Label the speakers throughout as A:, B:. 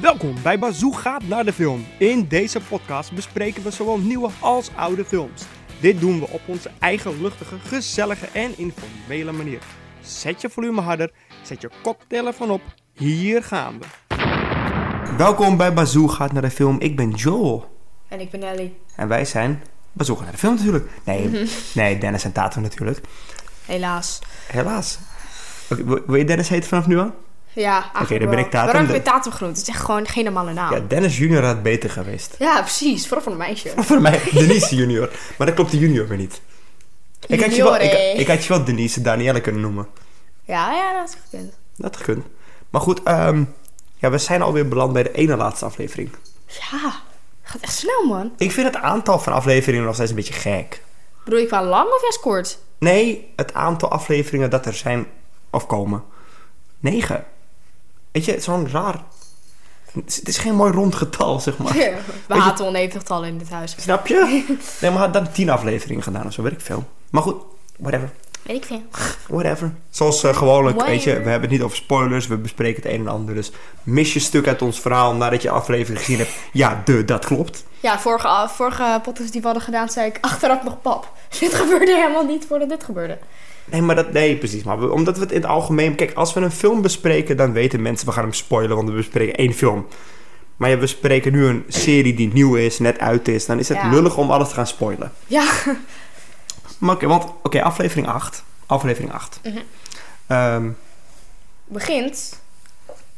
A: Welkom bij Bazoo gaat naar de film. In deze podcast bespreken we zowel nieuwe als oude films. Dit doen we op onze eigen luchtige, gezellige en informele manier. Zet je volume harder, zet je cocktail ervan op. Hier gaan we. Welkom bij Bazoo gaat naar de film. Ik ben Joel.
B: En ik ben Ellie.
A: En wij zijn Bazoo gaat naar de film natuurlijk. Nee, nee Dennis en Tatum natuurlijk.
B: Helaas.
A: Helaas. Oké, wil- wil je Dennis heten vanaf nu aan?
B: Ja, Oké,
A: dan ben ik Tatum.
B: Waarom heb
A: Dan-
B: je Tatum genoemd? Het is echt gewoon geen normale naam.
A: Ja,
B: Ja,
A: Dennis junior had beter geweest.
B: precies. Vooral voor een meisje.
A: Voor mij Denise junior. Maar dat klopt de junior weer niet. Ik had, je wel,
B: Junior, hè?
A: ik, ik had je wel Denise en Danielle kunnen noemen.
B: Ja, ja, dat is gekend.
A: Dat had gekund. Maar goed, ehm, ja, we zijn alweer beland bij de ene laatste aflevering.
B: Ja, gaat echt snel, man.
A: Ik vind het aantal van afleveringen nog steeds een beetje gek.
B: Bedoel je qua lang of juist kort?
A: Nee, het aantal afleveringen dat er zijn of komen. Negen. Weet je, zo'n raar... Het is geen mooi rond getal, zeg maar.
B: We
A: je-
B: haten oneven getallen in dit huis.
A: Snap je? Nee, maar had dan tien afleveringen gedaan of zo, weet ik veel. Maar goed, whatever.
B: Weet ik veel.
A: Whatever. Zoals eh, gewoonlijk, weet je, we
B: Whatever.
A: hebben het niet over spoilers, we bespreken het een en ander. Dus mis je stuk uit ons verhaal nadat je aflevering gezien hebt, ja, de, dat klopt.
B: Ja, vorige, af- vorige podcast die we hadden gedaan, zei ik achteraf nog pap. Dit gebeurde helemaal niet voordat dit gebeurde.
A: Nee, maar dat, nee, precies. Maar we- omdat we het in het algemeen, kijk, als we een film bespreken, dan weten mensen, we gaan hem spoilen, want we bespreken één film. Maar ja, we bespreken nu een serie die nieuw is, net uit is, dan is het
B: Ja.
A: lullig om alles te gaan spoilen.
B: Ja.
A: Maar oké, want, oké, aflevering 8. Aflevering 8.
B: Mhm.
A: Ehm,
B: begint,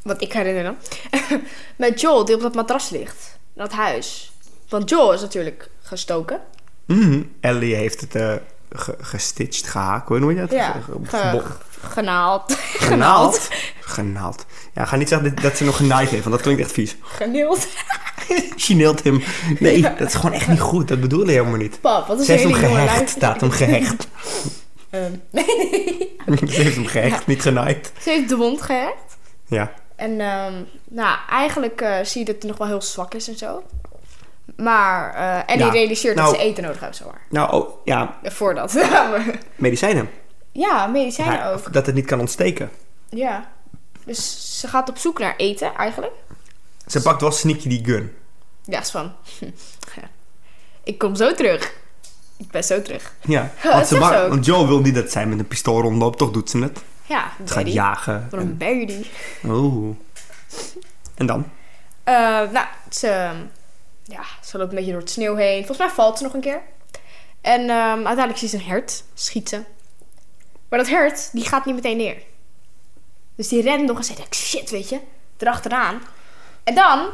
B: wat ik herinner me, met Joel die op dat matras ligt. In dat huis. Want Joel is natuurlijk gestoken.
A: mhm, Ellie heeft het eh, ge- gestitcht, gehaakt, hoe noem je dat?
B: Ja,
A: Ge- ge-
B: ge-
A: gebo-
B: Genaald.
A: Genaald? Genaald. Ja, ga niet zeggen dat- dat ze nog genaaid heeft, want dat klinkt echt vies.
B: Geneeld.
A: She nailed him. Nee, dat is gewoon echt niet goed. Dat bedoelde je helemaal niet.
B: Pap, wat is
A: Ze heeft hem
B: hele jonge
A: gehecht.
B: lijf?
A: Staat hem gehecht.
B: Ehm, nee, nee.
A: Ze heeft hem gehecht, niet genaaid.
B: Ze heeft de wond gehecht.
A: Ja.
B: En ehm, nou, eigenlijk eh, zie je dat hij nog wel heel zwak is en zo. Maar, eh, en die
A: Ja,
B: realiseert dat
A: nou-
B: ze eten nodig hebben, zowaar.
A: Nou, oh, ja,
B: Eh, Voordat. Ja, maar-
A: medicijnen.
B: ja, medicijnen
A: Ja,
B: ook.
A: Dat het niet kan ontsteken.
B: Ja. Dus ze gaat op zoek naar eten, eigenlijk.
A: Ze pakt wel sneaky die gun.
B: Ja, is van. hm, ja. Ik kom zo terug. Ik ben zo terug.
A: Ja.
B: Ja,
A: Want,
B: dat
A: ze
B: zegt
A: mag-
B: ze ook.
A: want Joe wil niet dat zij met een pistool rondloopt, toch doet ze het.
B: Ja,
A: Ze gaat jagen.
B: Wat een
A: En,
B: baby.
A: oeh. En dan?
B: Eh, nou, ze, ehm, ja, ze loopt een beetje door het sneeuw heen. Volgens mij valt ze nog een keer. En ehm, uiteindelijk ziet ze een hert schieten. Maar dat hert, die gaat niet meteen neer. Dus die rent nog eens en denkt, shit, weet je, erachteraan. En dan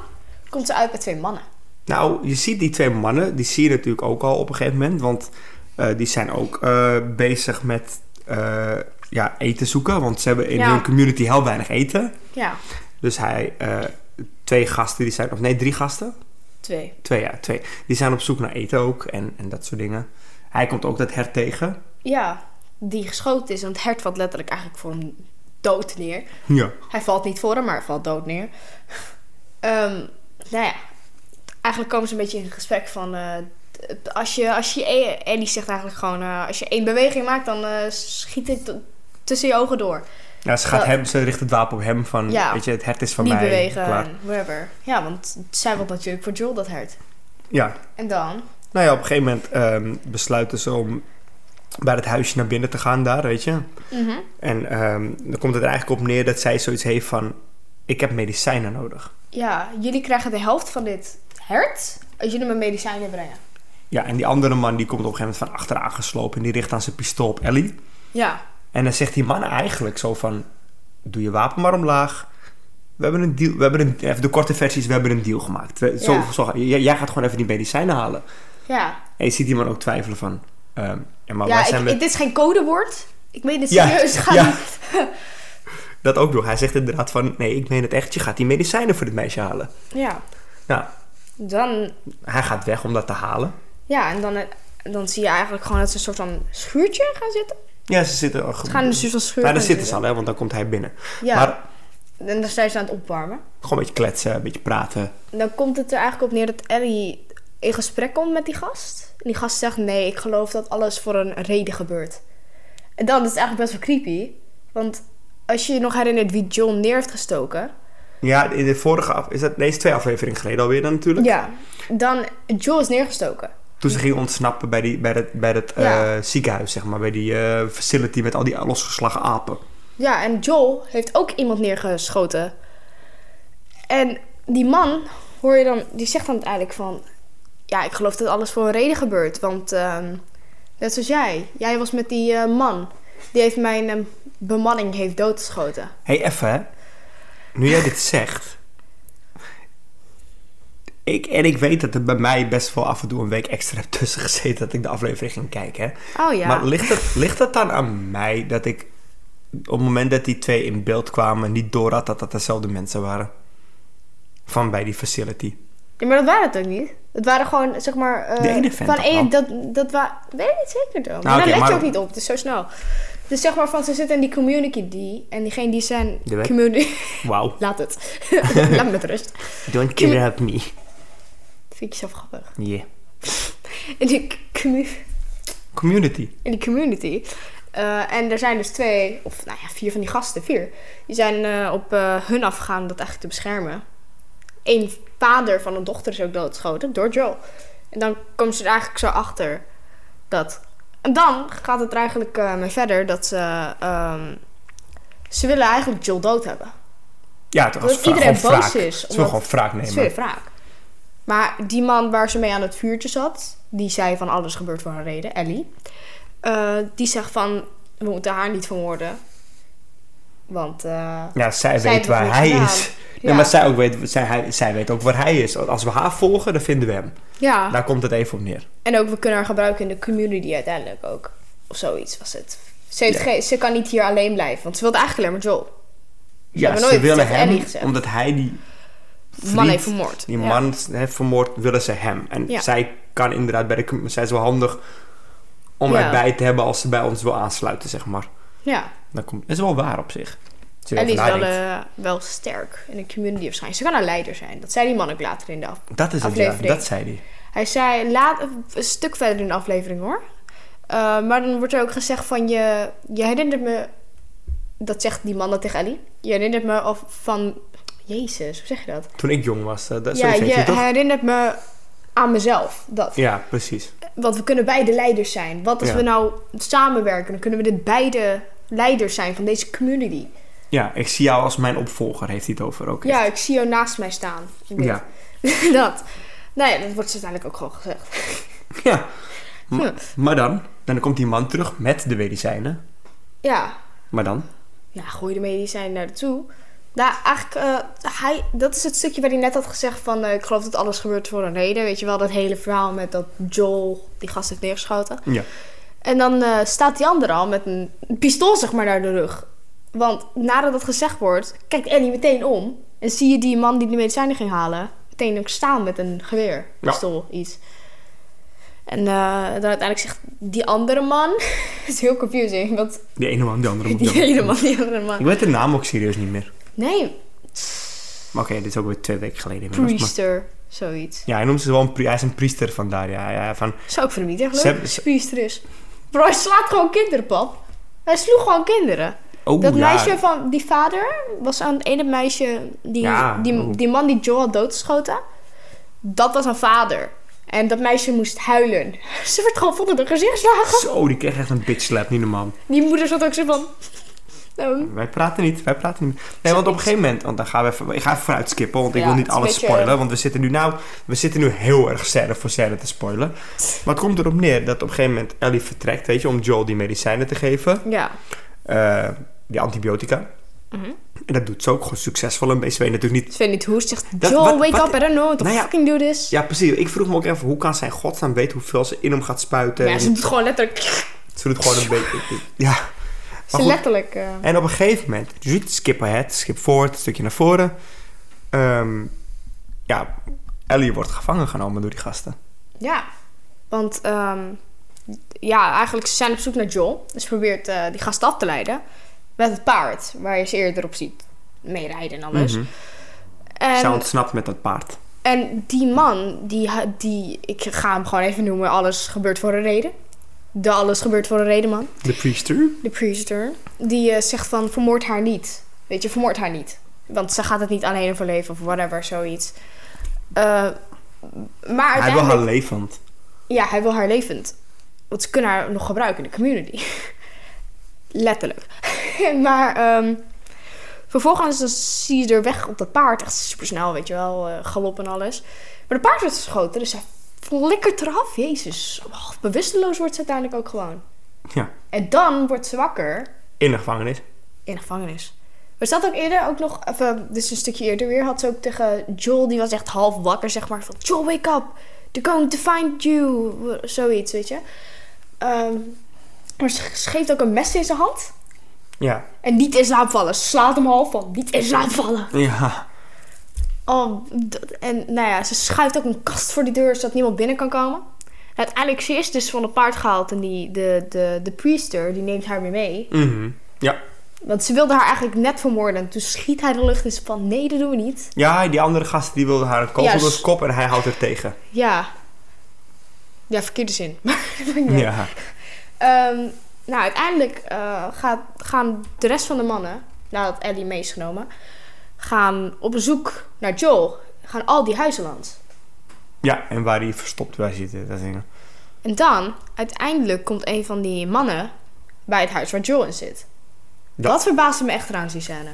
B: komt ze uit bij twee mannen.
A: Nou, je ziet die twee mannen, die zie je natuurlijk ook al op een gegeven moment. Want eh, die zijn ook eh, bezig met eh, ja, eten zoeken. Want ze hebben in
B: Ja.
A: hun community heel weinig eten.
B: Ja,
A: Dus hij, eh, twee gasten die zijn, of nee, drie gasten.
B: twee.
A: Twee, ja, twee. Die zijn op zoek naar eten ook en, en dat soort dingen. Hij komt ook dat hert tegen.
B: Ja, die geschoten is. Want het hert valt letterlijk eigenlijk voor hem dood neer.
A: Ja.
B: Hij valt niet voor hem, maar hij valt dood neer. Ehm, nou ja, eigenlijk komen ze een beetje in gesprek van... eh, t- als je, als je, e- Ellie zegt eigenlijk gewoon... eh, als je één beweging maakt, dan eh, schiet het t- tussen je ogen door.
A: Ja, ze, gaat
B: Wel-
A: hem, ze richt het wapen op hem van,
B: Ja.
A: weet je, het hert is van
B: niet
A: mij.
B: bewegen,
A: klaar.
B: en whatever. Ja, want zij wil natuurlijk voor Joel dat hert.
A: Ja.
B: En dan...
A: Nou ja, op een gegeven moment ehm, besluiten ze om bij het huisje naar binnen te gaan daar, weet je.
B: mhm.
A: En ehm, dan komt het er eigenlijk op neer dat zij zoiets heeft van... Ik heb medicijnen nodig.
B: Ja, jullie krijgen de helft van dit hert... als jullie me medicijnen brengen.
A: Ja, en die andere man die komt op een gegeven moment van achteraan geslopen... en die richt aan zijn pistool op Ellie.
B: Ja,
A: En dan zegt die man eigenlijk zo van... Doe je wapen maar omlaag. We hebben een deal... We hebben een, even de korte versies, we hebben een deal gemaakt. We- zo,
B: Ja.
A: zo, jij, jij gaat gewoon even die medicijnen halen.
B: ja.
A: En je ziet die man ook twijfelen van... ehm, ja, maar wij
B: ja ik,
A: zijn met-
B: ik- dit is geen codewoord. Ik meen dit
A: Ja,
B: serieus. Ga
A: ja.
B: niet-
A: dat ook nog. Hij zegt inderdaad van... Nee, ik meen het echt. Je gaat die medicijnen voor dit meisje halen.
B: ja.
A: Nou,
B: Dan
A: hij gaat weg om dat te halen.
B: Ja, en dan, eh, dan zie je eigenlijk gewoon dat ze een soort van schuurtje gaan zitten.
A: Ja, ze zitten...
B: Ze gaan dus in een soort van schuurtje.
A: Nou, daar zitten ze al, hè, want dan komt hij binnen.
B: Ja,
A: Maar
B: en dan zijn ze aan het opwarmen.
A: gewoon een beetje kletsen, een beetje praten.
B: En dan komt het er eigenlijk op neer dat Ellie in gesprek komt met die gast. En die gast zegt, nee, ik geloof dat alles voor een reden gebeurt. En dan is het eigenlijk best wel creepy. Want als je je nog herinnert wie John neer heeft gestoken...
A: Ja, in de vorige af... Is dat... Nee, is twee afleveringen geleden alweer dan natuurlijk.
B: Ja. Dan, Joel is neergestoken.
A: Toen ze ging ontsnappen bij, die, bij dat, bij dat
B: Ja.
A: eh, ziekenhuis, zeg maar. Bij die eh, facility met al die losgeslagen apen.
B: Ja, en Joel heeft ook iemand neergeschoten. En die man, hoor je dan, die zegt dan eigenlijk van... Ja, ik geloof dat alles voor een reden gebeurt. Want ehm, net zoals jij. Jij was met die eh, man. Die heeft mijn ehm, bemanning heeft doodgeschoten.
A: Hé, hey, effe, hè. Nu jij dit zegt... Ik, en ik weet dat er bij mij best wel af en toe een week extra heb tussen gezeten... dat ik de aflevering ging kijken, hè.
B: Oh ja.
A: Maar ligt het, ligt het dan aan mij dat ik... op het moment dat die twee in beeld kwamen... niet door had dat dat dezelfde mensen waren? Van bij die facility.
B: Ja, maar dat waren het ook niet. Het waren gewoon, zeg maar... eh,
A: De ene vent
B: Van
A: toch
B: één,
A: wel? Nou,
B: dat, dat wa- Weet ik niet zeker dan. Maar
A: oké,
B: daar let
A: maar-
B: je ook niet op. Het is zo snel. Dus zeg maar van, ze zitten in die community. En diegene die zijn...
A: De weg.
B: Community...
A: Wauw.
B: Laat het. Laat me met rust.
A: Don't kidnap me.
B: Dat vind ik zelf grappig.
A: Yeah.
B: In die, commu-
A: Community.
B: in die community. eh, en er zijn dus twee, of nou ja, vier van die gasten, vier. Die zijn eh, op eh, hun afgegaan om dat eigenlijk te beschermen. Eén vader van een dochter is ook doodgeschoten door Joel. En dan komen ze er eigenlijk zo achter dat. En dan gaat het er eigenlijk eh, mee verder dat ze. ehm, ze willen eigenlijk Joel dood hebben.
A: Ja, het was
B: Dat
A: vra-
B: iedereen
A: gewoon
B: boos
A: wraak.
B: is,
A: Ze wil
B: omdat-
A: gewoon wraak
B: Dat is weer
A: nemen.
B: de vraag. Maar die man waar ze mee aan het vuurtje zat, die zei van alles gebeurt voor een reden, Ellie. eh, die zegt van we moeten haar niet vermoorden. Want eh,
A: Ja, zij,
B: Zij
A: weet
B: heeft het
A: waar
B: niet
A: hij
B: gedaan.
A: is. Nee,
B: Ja.
A: maar zij, ook weet, zij, hij- zij weet ook waar hij is. Als we haar volgen, dan vinden we hem.
B: ja,
A: Daar komt het even op neer.
B: en ook we kunnen haar gebruiken in de community uiteindelijk ook. Of zoiets was het. Ze, heeft
A: Ja.
B: geen- ze kan niet hier alleen blijven, want ze wilde eigenlijk alleen maar Joel.
A: Ja,
B: hebben
A: ze
B: nooit
A: willen
B: tegen Ellie
A: hem,
B: gezegd.
A: omdat hij die
B: De man
A: Vriend,
B: heeft vermoord.
A: Die
B: Ja.
A: man heeft vermoord, willen ze hem. En
B: Ja.
A: zij kan inderdaad bij de com- Zij is wel handig om
B: Ja.
A: erbij te hebben als ze bij ons wil aansluiten, zeg maar.
B: Ja,
A: Dat komt, is wel waar op zich. Als je
B: Ellie is
A: erover
B: wel,
A: nadenkt.
B: eh, wel sterk in de community waarschijnlijk. Ze kan haar leider zijn. Dat zei die man ook later in de af,
A: dat is het, ja.
B: aflevering.
A: Dat zei hij.
B: Hij zei laat, een stuk verder in de aflevering hoor. Eh, maar dan wordt er ook gezegd van je, je herinnert me, dat zegt die man dan tegen Ellie. Je herinnert me of van, jezus, hoe zeg je dat?
A: Toen ik jong was. eh, dat,
B: ja,
A: zoiets
B: je
A: heeft hij toch?
B: herinnert me aan mezelf. Dat.
A: Ja, precies.
B: Want we kunnen beide leiders zijn. Wat als
A: Ja.
B: we nou samenwerken, dan kunnen we de beide leiders zijn van deze community.
A: Ja, ik zie jou als mijn opvolger, heeft hij het over ook.
B: Ja, ik zie jou naast mij staan. Ik denk,
A: Ja.
B: dat. Nee, dat wordt uiteindelijk ook gewoon gezegd.
A: ja. M-
B: Hm.
A: Maar dan, dan komt die man terug met de medicijnen.
B: Ja,
A: Maar dan?
B: ja, gooi de medicijnen naartoe. Nou, eigenlijk, eh, hij, dat is het stukje waar hij net had gezegd van... eh, ik geloof dat alles gebeurt voor een reden. Weet je wel, dat hele verhaal met dat Joel die gast heeft neergeschoten.
A: Ja.
B: En dan eh, staat die ander al met een pistool, zeg maar, naar de rug. Want nadat dat gezegd wordt, kijkt Ellie meteen om. En zie je die man die de medicijnen ging halen... meteen ook staan met een geweer,
A: Ja.
B: pistool, iets. En eh, dan uiteindelijk zegt die andere man... Het is heel confusing, want
A: De ene man, de andere man.
B: die ene man, die andere man...
A: Ik weet de naam ook serieus niet meer.
B: Nee,
A: Maar oké, dit is ook weer twee weken geleden. inmiddels, maar-
B: priester, zoiets.
A: Ja, hij noemt ze wel een pri- hij is een priester vandaar. Ja, ja, van,
B: Zou ik voor hem niet
A: Ze
B: echt leuk
A: hebben- ze-
B: priester is. Bro, hij slaat gewoon kinderen, pap. Hij sloeg gewoon kinderen.
A: oh,
B: dat
A: ja.
B: meisje van die vader was aan het ene meisje, die,
A: Ja,
B: die,
A: oeh.
B: die man die Joel had doodgeschoten. Dat was haar vader. En dat meisje moest huilen. Ze werd gewoon vol door haar gezicht geslagen.
A: Zo, die kreeg echt een bitch slap, niet normaal.
B: Die moeder zat ook zo van... ehm,
A: Wij praten niet, wij praten niet. Nee, want op een gegeven moment, want dan gaan we even, ik ga even vooruit skippen, want ik
B: Ja,
A: wil
B: het
A: niet
B: is een
A: alles
B: beetje-
A: spoilen, want we zitten nu nou, we zitten nu heel erg scène voor scène te spoilen. Maar het komt erop neer dat op een gegeven moment Ellie vertrekt, weet je, om Joel die medicijnen te geven,
B: ja.
A: eh, die antibiotica.
B: Mhm.
A: En dat doet ze ook gewoon succesvol en BCW natuurlijk niet.
B: Ik weet niet hoe. Ze zegt,
A: Dat-
B: Joel,
A: wat-
B: wake
A: wat-
B: up, I don't know what to
A: Nou ja.
B: fucking do this.
A: Ja, precies. Ik vroeg me ook even, hoe kan zij in godsnaam weten hoeveel ze in hem gaat spuiten?
B: Maar ja,
A: En
B: ze doet gewoon letterlijk...
A: ze doet gewoon een beetje, ja.
B: Ze
A: Maar goed.
B: letterlijk... eh,
A: En op een gegeven moment, je ziet skip ahead, skip forward, een stukje naar voren. Ehm, ja, Ellie wordt gevangen genomen door die gasten.
B: Ja, want ehm, ja, eigenlijk ze zijn op zoek naar Joel. Dus ze probeert eh, die gast af te leiden met het paard, waar je ze eerder op ziet meerijden en alles.
A: Mhm. Zij
B: En,
A: ontsnapt met dat paard.
B: en die man, die, ha- die, ik ga hem gewoon even noemen, alles gebeurt voor een reden. De alles gebeurt voor een reden man,
A: De priester?
B: de priester, die eh, zegt van vermoord haar niet. Weet je, vermoord haar niet. Want ze gaat het niet alleen overleven of whatever, zoiets. Eh, maar
A: Hij wil
B: uiteindelijk...
A: haar levend.
B: Ja, hij wil haar levend. Want ze kunnen haar nog gebruiken in de community. Letterlijk. maar ehm, vervolgens dan zie je er weg op dat paard. Echt super snel, weet je wel. eh, galop en alles. Maar de paard wordt geschoten, dus hij flikkert eraf. Jezus. Oh, bewusteloos wordt ze uiteindelijk ook gewoon.
A: Ja,
B: En dan wordt ze wakker
A: in de gevangenis.
B: in de gevangenis. Maar ze had ook eerder ook nog, of, eh, dus een stukje eerder weer, had ze ook tegen Joel, die was echt half wakker, zeg maar, van Joel, wake up, they're going to find you, zoiets, weet je. Ehm, maar ze ze geeft ook een mes in zijn hand.
A: Ja.
B: En niet in slaap vallen. Ze Slaat hem half van. Niet in slaap vallen.
A: Ja.
B: Oh, dat- en nou ja, ze schuift ook een kast voor die deur zodat niemand binnen kan komen. En uiteindelijk, ze is dus van het paard gehaald en die, de, de, de priester, die neemt haar weer mee.
A: Mhm. Ja.
B: Want ze wilde haar eigenlijk net vermoorden. En toen schiet hij de lucht in van nee, dat doen we niet.
A: Ja, die andere gast die wilde haar een kogel
B: Ja,
A: door
B: s-
A: zijn kop en hij houdt er tegen.
B: Ja. Ja, verkeerde zin. Maar dat maakt niet
A: Ja.
B: uit. Ehm, nou, uiteindelijk eh, gaat, gaan de rest van de mannen, nadat Ellie mee is genomen, gaan op bezoek naar Joel. Gaan al die huizen langs.
A: Ja, en waar hij verstopt bij zitten, dat ding.
B: En dan, uiteindelijk komt een van die mannen bij het huis waar Joel in zit.
A: Ja.
B: Dat verbaasde me echt eraan, die scène.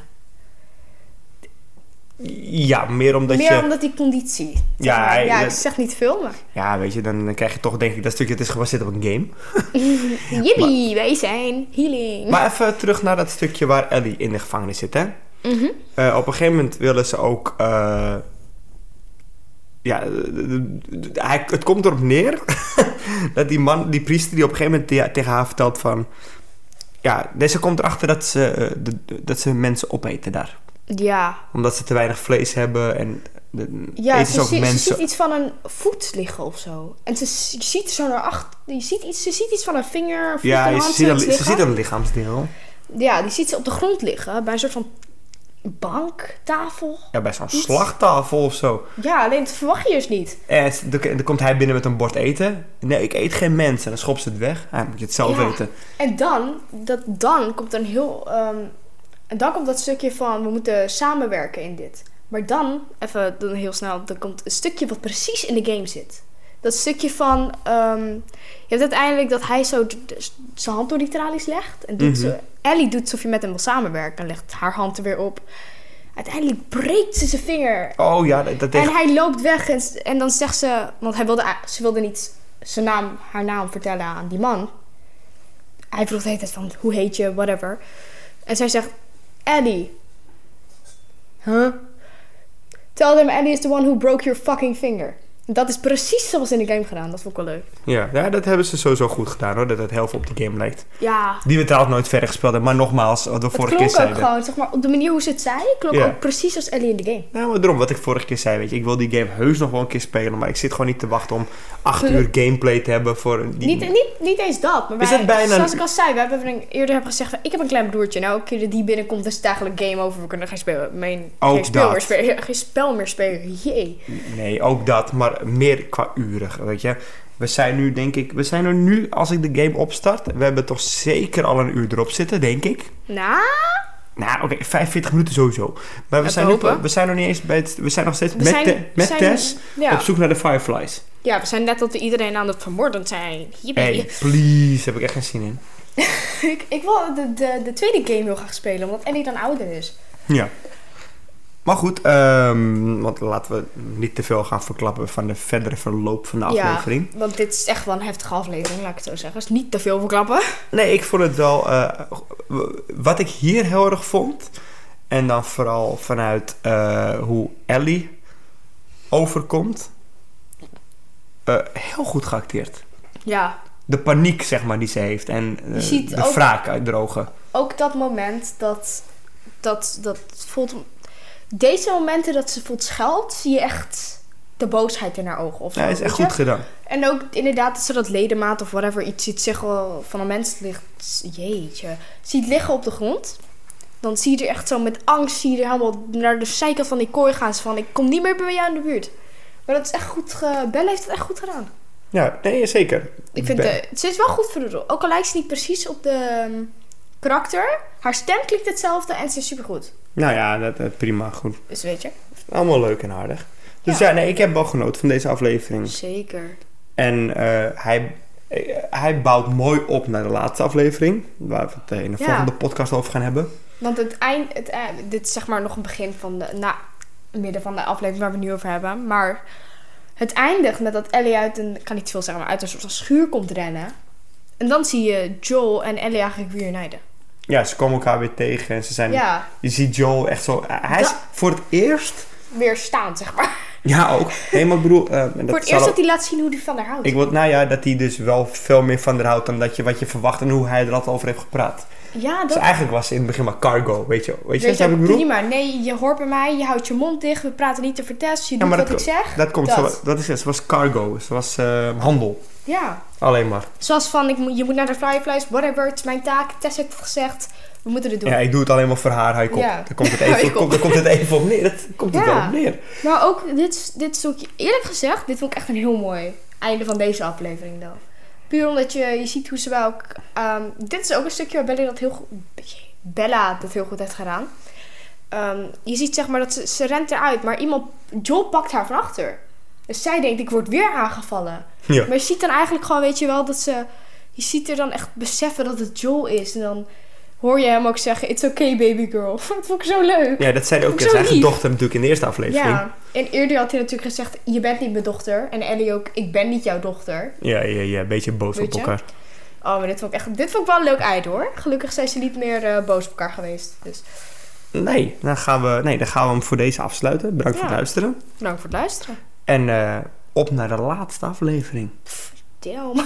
A: Ja, meer omdat
B: Meer
A: je...
B: omdat die conditie.
A: Ja,
B: Ja,
A: hij-
B: ja ik
A: dat-
B: zeg niet veel, maar...
A: Ja, weet je, dan krijg je toch denk ik dat stukje, het is gebaseerd op een game.
B: Jippie, wij zijn healing.
A: Maar even terug naar dat stukje waar Ellie in de gevangenis zit, hè? Eh, op een gegeven moment willen ze ook... eh, ja, eh, hij, het komt erop neer dat die man, die priester, die op een gegeven moment te- tegen haar vertelt van... Ja, deze komt erachter dat ze, eh, de- dat ze mensen opeten daar.
B: ja,
A: Omdat ze te weinig vlees hebben en de,
B: Ja,
A: eten ze
B: ze,
A: ook
B: zie- ze
A: mensen.
B: ziet iets van een voet liggen of zo. En ze s- je ziet zo naar achter. Je ziet iets, ze ziet iets van een vinger of
A: ja,
B: een
A: je
B: hand.
A: ziet een,
B: zoiets
A: ze
B: liggen.
A: ziet een lichaamsdeel.
B: Ja, die ziet ze op de grond liggen. Bij een soort van bank, tafel.
A: Ja, bij zo'n slachttafel of zo.
B: Ja, alleen dat verwacht je dus niet.
A: En s- dan k- dan komt hij binnen met een bord eten. Nee, ik eet geen mensen. En dan schopt ze het weg. Hij moet je het zelf
B: Ja.
A: eten.
B: En dan, dat, dan komt een heel... ehm, en dan komt dat stukje van, we moeten samenwerken in dit. Maar dan, even dan heel snel, dan komt een stukje wat precies in de game zit. Dat stukje van, ehm, je hebt uiteindelijk dat hij zo d- d- zijn hand door die tralies legt. En doet
A: Mhm.
B: zo, Ellie doet alsof je met hem wil samenwerken en legt haar hand er weer op. Uiteindelijk breekt ze zijn vinger.
A: Oh ja, dat, dat
B: En
A: tegen...
B: hij loopt weg en, s- en dan zegt ze, want hij wilde, a- ze wilde niet zijn naam, haar naam vertellen aan die man. Hij vroeg de hele tijd van, hoe heet je, whatever. En zij zegt, Eddie. Huh? Tell them Eddie is the one who broke your fucking finger. Dat is precies zoals in de game gedaan, dat vond ik wel leuk.
A: Ja, ja, dat hebben ze sowieso goed gedaan hoor. Dat het heel veel op de game lijkt.
B: Ja,
A: Die we trouwens nooit verder gespeeld hebben. Maar nogmaals, wat we
B: het
A: vorige keer
B: klonk ook
A: zeiden.
B: gewoon, zeg maar, op de manier hoe ze het zei, klonk
A: Ja.
B: ook precies als Ellie in de game.
A: Nou, maar daarom, wat ik vorige keer zei, weet je. Ik wil die game heus nog wel een keer spelen. Maar ik zit gewoon niet te wachten om acht uur gameplay te hebben voor een- die...
B: Niet, niet, niet eens dat, maar
A: Is
B: wij-
A: het bijna-
B: zoals ik al zei, we hebben een- eerder hebben gezegd, van, ik heb een klein broertje. Nou, elke keer dat die binnenkomt, is het eigenlijk game over. We kunnen geen, speel, mijn,
A: Ook
B: geen, spel,
A: Oh, dat.
B: meer spelen, geen spel meer spelen. Jee.
A: Nee, ook dat, maar meer qua uren, weet je. We zijn nu, denk ik, we zijn er nu, als ik de game opstart, we hebben toch zeker al een uur erop zitten, denk ik.
B: Nou,
A: Nou, oké, 45 minuten sowieso. Maar we,
B: we
A: zijn, nu,
B: hopen.
A: we zijn nog niet eens bij het, we zijn nog steeds
B: we
A: met,
B: zijn,
A: te-
B: we
A: met
B: zijn-
A: Tess
B: Ja.
A: op zoek naar de Fireflies.
B: ja, we zijn net dat we iedereen aan het vermoorden zijn. Hier ben
A: Hey,
B: je.
A: please, heb ik echt geen zin in.
B: Ik, ik wil de, de, de tweede game heel graag spelen, omdat Ellie dan ouder is.
A: Ja. Maar goed, ehm, want laten we niet te veel gaan verklappen van de verdere verloop van de aflevering.
B: Ja, want dit is echt wel een heftige aflevering, laat ik het zo zeggen. Dus niet te veel verklappen.
A: Nee, ik vond het wel. eh, wat ik hier heel erg vond. En dan vooral vanuit eh, hoe Ellie overkomt. eh, heel goed geacteerd.
B: Ja,
A: De paniek, zeg maar, die ze heeft. En eh,
B: Je ziet
A: de
B: ook-
A: wraak uit de ogen.
B: ook dat moment dat, dat, dat voelt... Deze momenten dat ze voelt scheld, zie je echt de boosheid in haar ogen. Of zo,
A: Ja, is
B: weet
A: echt
B: je?
A: goed gedaan.
B: En ook inderdaad dat ze dat ledemaat of whatever iets ziet zeggen van een mens ligt... Jeetje. Ziet liggen op de grond. Dan zie je er echt zo met angst, zie je er helemaal naar de zijkant van die kooi gaan. Ze van, ik kom niet meer bij jou in de buurt. Maar dat is echt goed... Ge... Belle heeft het echt goed gedaan.
A: Ja, nee, zeker.
B: Ik vind
A: Ben-
B: eh, ze is wel goed voor de rol. Ook al lijkt ze niet precies op de ehm, karakter, haar stem klinkt hetzelfde en ze is supergoed.
A: Nou ja, dat, dat- prima, goed.
B: Dus weet je.
A: Allemaal leuk en aardig. Dus ja,
B: Ja.
A: nee, ik heb wel genoten van deze aflevering.
B: Zeker.
A: En eh, hij, eh, hij bouwt mooi op naar de laatste aflevering. Waar we het eh, in de
B: Ja.
A: volgende podcast over gaan hebben.
B: Want het eind, het, eh, dit is zeg maar nog een begin van de, nou, midden van de aflevering waar we het nu over hebben. Maar het eindigt met dat Ellie uit een, ik kan niet veel zeggen, maar uit een soort van schuur komt rennen. En dan zie je Joel en Ellie eigenlijk reuniten.
A: Ja, ze komen elkaar weer tegen en ze zijn...
B: Ja,
A: Je ziet Joel echt zo... Hij is
B: Da-
A: voor het eerst...
B: weer staan zeg maar.
A: Ja, ook. Nee, maar ik bedoel... eh, en dat
B: Voor het
A: zal
B: eerst
A: ook-
B: dat hij laat zien hoe hij van haar houdt.
A: Ik wil, nou ja, dat hij dus wel veel meer van haar houdt dan dat je, wat je verwacht en hoe hij er altijd over heeft gepraat.
B: ja,
A: Dus
B: dat
A: eigenlijk was ze in het begin maar cargo, weet je. Weet je
B: weet
A: wat ik
B: je,
A: bedoel?
B: prima. Nee, je hoort bij mij, je houdt je mond dicht, we praten niet over tests, je
A: Ja,
B: doet
A: maar
B: wat
A: dat
B: ik zeg.
A: Dat komt
B: Dat.
A: zo. Dat is het. Ze was cargo. Ze was eh, handel.
B: Ja,
A: Alleen maar.
B: zoals van, ik, moet- je moet naar de flyflies, whatever, het is mijn taak, Tess heeft het gezegd, we moeten dit doen.
A: Ja, ik doe het alleen maar voor haar. Hij komt.
B: Ja.
A: Daar komt het
B: Hij
A: even,
B: komt.
A: komt, daar komt het even op neer. Dat komt het
B: Ja.
A: wel op neer.
B: Maar ook, dit, is- dit is ook, eerlijk gezegd, dit vond ik echt een heel mooi einde van deze aflevering dan. Puur omdat je, je ziet hoe ze bij elkaar... ehm, dit is ook een stukje waar Bella dat heel goed, Bella dat heel goed heeft gedaan. Ehm, je ziet zeg maar dat ze, ze rent eruit, maar iemand, Joel pakt haar van achter. Dus zij denkt, ik word weer aangevallen.
A: Ja.
B: Maar je ziet dan eigenlijk gewoon, weet je wel, dat ze... Je ziet er dan echt beseffen dat het Joel is. En dan hoor je hem ook zeggen, it's okay baby girl. Dat vond ik zo leuk.
A: Ja, dat zei hij ook.
B: Zo
A: Zijn eigen
B: lief.
A: dochter natuurlijk in de eerste aflevering. Ja,
B: Ja, en eerder had hij natuurlijk gezegd: Je bent niet mijn dochter. En Ellie ook: Ik ben niet jouw dochter.
A: ja, ja. een beetje boos
B: Weet
A: op
B: je?
A: elkaar.
B: Oh, maar dit vond ik echt. Dit vond ik wel een leuk ei hoor. Gelukkig zijn ze niet meer eh, boos op elkaar geweest. Dus
A: Nee, dan gaan we, nee, dan gaan we hem voor deze afsluiten. Bedankt voor
B: Ja.
A: het luisteren.
B: bedankt voor het luisteren.
A: En eh, op naar de laatste aflevering.
B: Damn.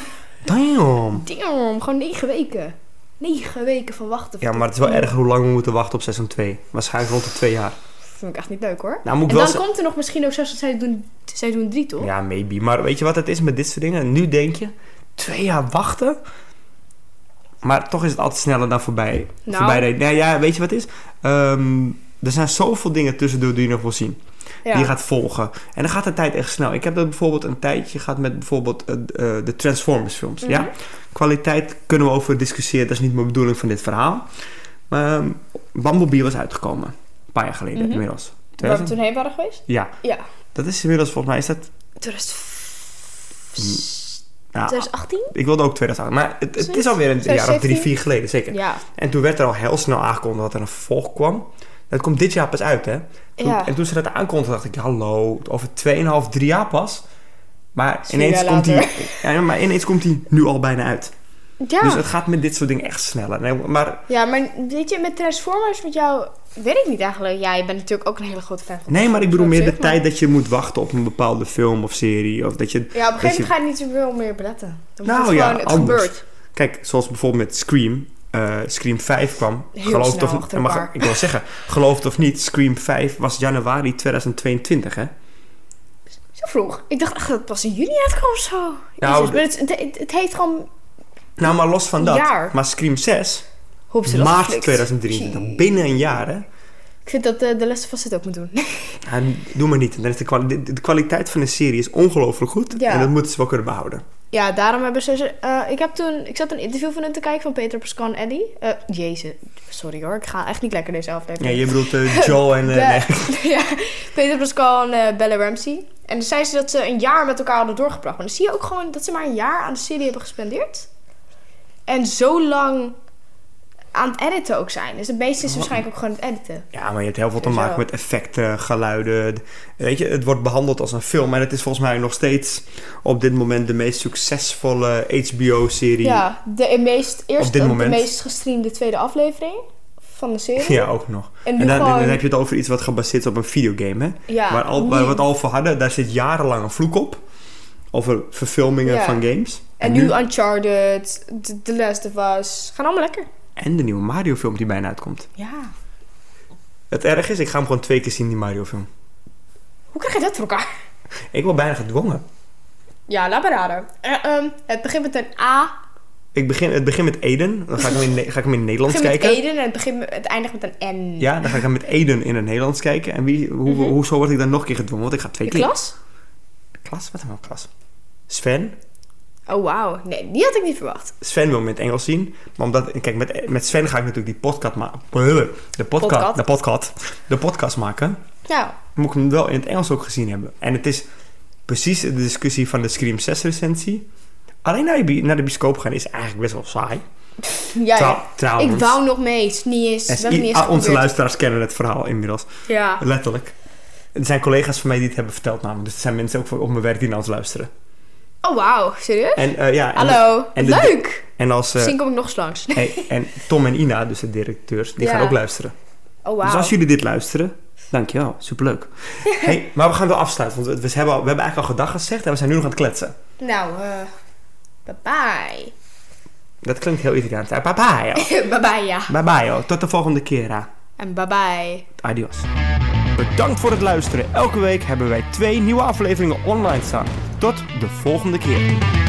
A: Damn.
B: Damn. Gewoon negen weken. Negen weken van wachten.
A: Ja, maar het is wel erg hoe lang we moeten wachten op seizoen 2. Waarschijnlijk rond de twee jaar.
B: Vind ik echt niet leuk hoor.
A: Nou, moet ik
B: En
A: wel
B: dan
A: zeggen-
B: komt er nog misschien ook zelfs seizoen, seizoen 3 toch?
A: Ja, maybe. Maar weet je wat het is met dit soort dingen? Nu denk je, twee jaar wachten. Maar toch is het altijd sneller dan voorbij.
B: Nou.
A: voorbij reden. nou ja, weet je wat het is? Ehm, er zijn zoveel dingen tussendoor die je nog wil zien. Die je gaat volgen. En dan gaat de tijd echt snel. Ik heb dat bijvoorbeeld een tijdje gehad met bijvoorbeeld eh, eh, de Transformers films.
B: Mhm.
A: Ja? Kwaliteit kunnen we over discussiëren. Dat is niet mijn bedoeling van dit verhaal. Maar ehm, Bumblebee was uitgekomen. Een paar jaar geleden
B: Mhm.
A: inmiddels.
B: Waar we
A: 2000?
B: toen heen waren geweest?
A: Ja,
B: Ja.
A: dat is inmiddels volgens mij is dat...
B: 2018?
A: nou, Ik wilde ook 2008, maar het, het is alweer een jaar of drie,
B: 2017?
A: vier geleden, zeker.
B: Ja.
A: En toen werd er al heel snel aangekondigd dat er een vervolg kwam. Dat komt dit jaar pas uit, hè? Toen-
B: Ja.
A: En toen ze dat aankondigden, dacht ik, hallo, over 2,5, 3 jaar pas. Maar
B: Vier
A: ineens,
B: jaar
A: komt die,
B: later.
A: ja, maar ineens komt die nu al bijna uit.
B: Ja.
A: Dus het gaat met dit soort dingen echt sneller. Nee, maar
B: Ja, maar weet je, met Transformers, met jou, weet ik niet eigenlijk. Ja, je bent natuurlijk ook een hele grote fan van
A: Nee, maar ik bedoel meer de
B: Zeg maar.
A: tijd dat je moet wachten op een bepaalde film of serie. Of dat je,
B: Ja, op een
A: dat
B: gegeven moment
A: je-
B: ga je niet zoveel meer beletten. Dan
A: Nou
B: moet het
A: ja,
B: gewoon, het
A: anders.
B: gebeurt.
A: Kijk, zoals bijvoorbeeld met Scream. eh, Scream 5 kwam.
B: Heel
A: geloof het
B: snel
A: of niet.
B: achter
A: maar
B: elkaar.
A: Ik wil zeggen, geloof het of niet, Scream 5 was januari 2022, hè?
B: Zo vroeg. Ik dacht echt dat het pas in juni uitkwam of zo.
A: Nou,
B: Jezus, maar het, het, het- het heeft gewoon...
A: Nou, maar los van dat.
B: Jaar.
A: Maar Scream 6,
B: Hoe hebben ze dat
A: maart
B: geflikt?
A: 2023.
B: Gee.
A: Binnen een jaar, hè?
B: Ik vind dat eh, de lessen vast het ook moet doen.
A: Nou, doe maar niet. Dan is de, kwali- de- de kwaliteit van de serie is ongelooflijk goed.
B: Ja.
A: En dat moeten ze wel kunnen behouden.
B: ja, daarom hebben ze... ze- eh, ik, heb toen, ik zat een interview van hun te kijken van Peter Pascal en Eddie. Eh, jezus, sorry hoor. Ik ga echt niet lekker deze aflevering.
A: Ja, je bedoelt eh, Joel en... eh,
B: Ja.
A: nee.
B: ja, Peter Pascal en eh, Bella Ramsey. En dan zei ze dat ze een jaar met elkaar hadden doorgebracht. Maar dan zie je ook gewoon dat ze maar een jaar aan de serie hebben gespendeerd. En zo lang aan het editen ook zijn. Dus het meeste
A: Oh.
B: is waarschijnlijk ook gewoon het editen.
A: Ja, maar je hebt heel veel te
B: Sowieso.
A: maken met effecten, geluiden. Weet je, het wordt behandeld als een film. En het is volgens mij nog steeds op dit moment de meest succesvolle HBO-serie.
B: Ja, de eh, meest, eerst
A: Op dit
B: ook
A: moment.
B: de meest gestreamde tweede aflevering van de serie.
A: Ja, ook nog.
B: En
A: En,
B: nu
A: dan, dan
B: gewoon...
A: heb je het over iets wat gebaseerd is op een videogame, hè?
B: ja,
A: waar al, waar we het al voor hadden, daar zit jarenlang een vloek op. Over verfilmingen
B: Ja.
A: van games.
B: En nu Uncharted, The- The Last of Us. Gaan allemaal lekker.
A: en de nieuwe Mario-film die bijna uitkomt.
B: Ja.
A: Het erg is, ik ga hem gewoon twee keer zien, die Mario-film.
B: Hoe krijg je dat voor elkaar?
A: Ik word bijna gedwongen.
B: Ja, laat maar raden. Eh, ehm, het begint met een A
A: Ik begin, het begint met Eden. Dan ga ik hem in, ne- ga ik hem in het Nederlands
B: Het begint
A: kijken.
B: met Eden en het, begint met, het eindigt met een N.
A: Ja, dan ga ik hem met Eden in het Nederlands kijken. En wie, hoe,
B: Mhm.
A: hoezo word ik dan nog een keer gedwongen? Want ik ga twee
B: De
A: keer...
B: klas?
A: Klas? Wat dan wel klas? Sven?
B: Oh, wauw. Nee, die had ik niet verwacht.
A: Sven wil me in het Engels zien. Maar omdat, kijk, met, met Sven ga ik natuurlijk die podcast maken. De podcast,
B: Podcast.
A: de podcast, de podcast maken.
B: Nou,
A: moet ik hem wel in het Engels ook gezien hebben. En het is precies de discussie van de Scream 6 recensie. Alleen naar de, bi- naar de bioscoop gaan is eigenlijk best wel saai.
B: ja,
A: Trou-
B: ja.
A: trouwens.
B: Ik wou nog mee. Het is niet eens.
A: En
B: dat is
A: i-
B: niet eens
A: ah, onze
B: gebeurd.
A: luisteraars kennen het verhaal inmiddels.
B: Ja.
A: Letterlijk. Er zijn collega's van mij die het hebben verteld namelijk. Dus er zijn mensen ook voor- op mijn werk die naar ons luisteren.
B: Oh, wauw. Serieus?
A: En, eh, ja, en,
B: Hallo.
A: en de-
B: Leuk.
A: En, als, eh,
B: Misschien kom ik nog eens langs.
A: hey, en Tom en Ina, dus de directeurs, die
B: Ja.
A: gaan ook luisteren.
B: Oh, wauw.
A: Dus als jullie dit luisteren, dankjewel. Superleuk. hey, maar we gaan wel afsluiten. Want we, we hebben al, we hebben eigenlijk al gedag gezegd en we zijn nu nog aan het kletsen.
B: Nou, eh bye-bye.
A: Dat klinkt heel Italiaans. Bye bye. joh.
B: bye-bye, ja.
A: Bye bye, joh. tot de volgende keer. hè.
B: En bye-bye.
A: Adios. Bedankt voor het luisteren. Elke week hebben wij twee nieuwe afleveringen online staan. Tot de volgende keer.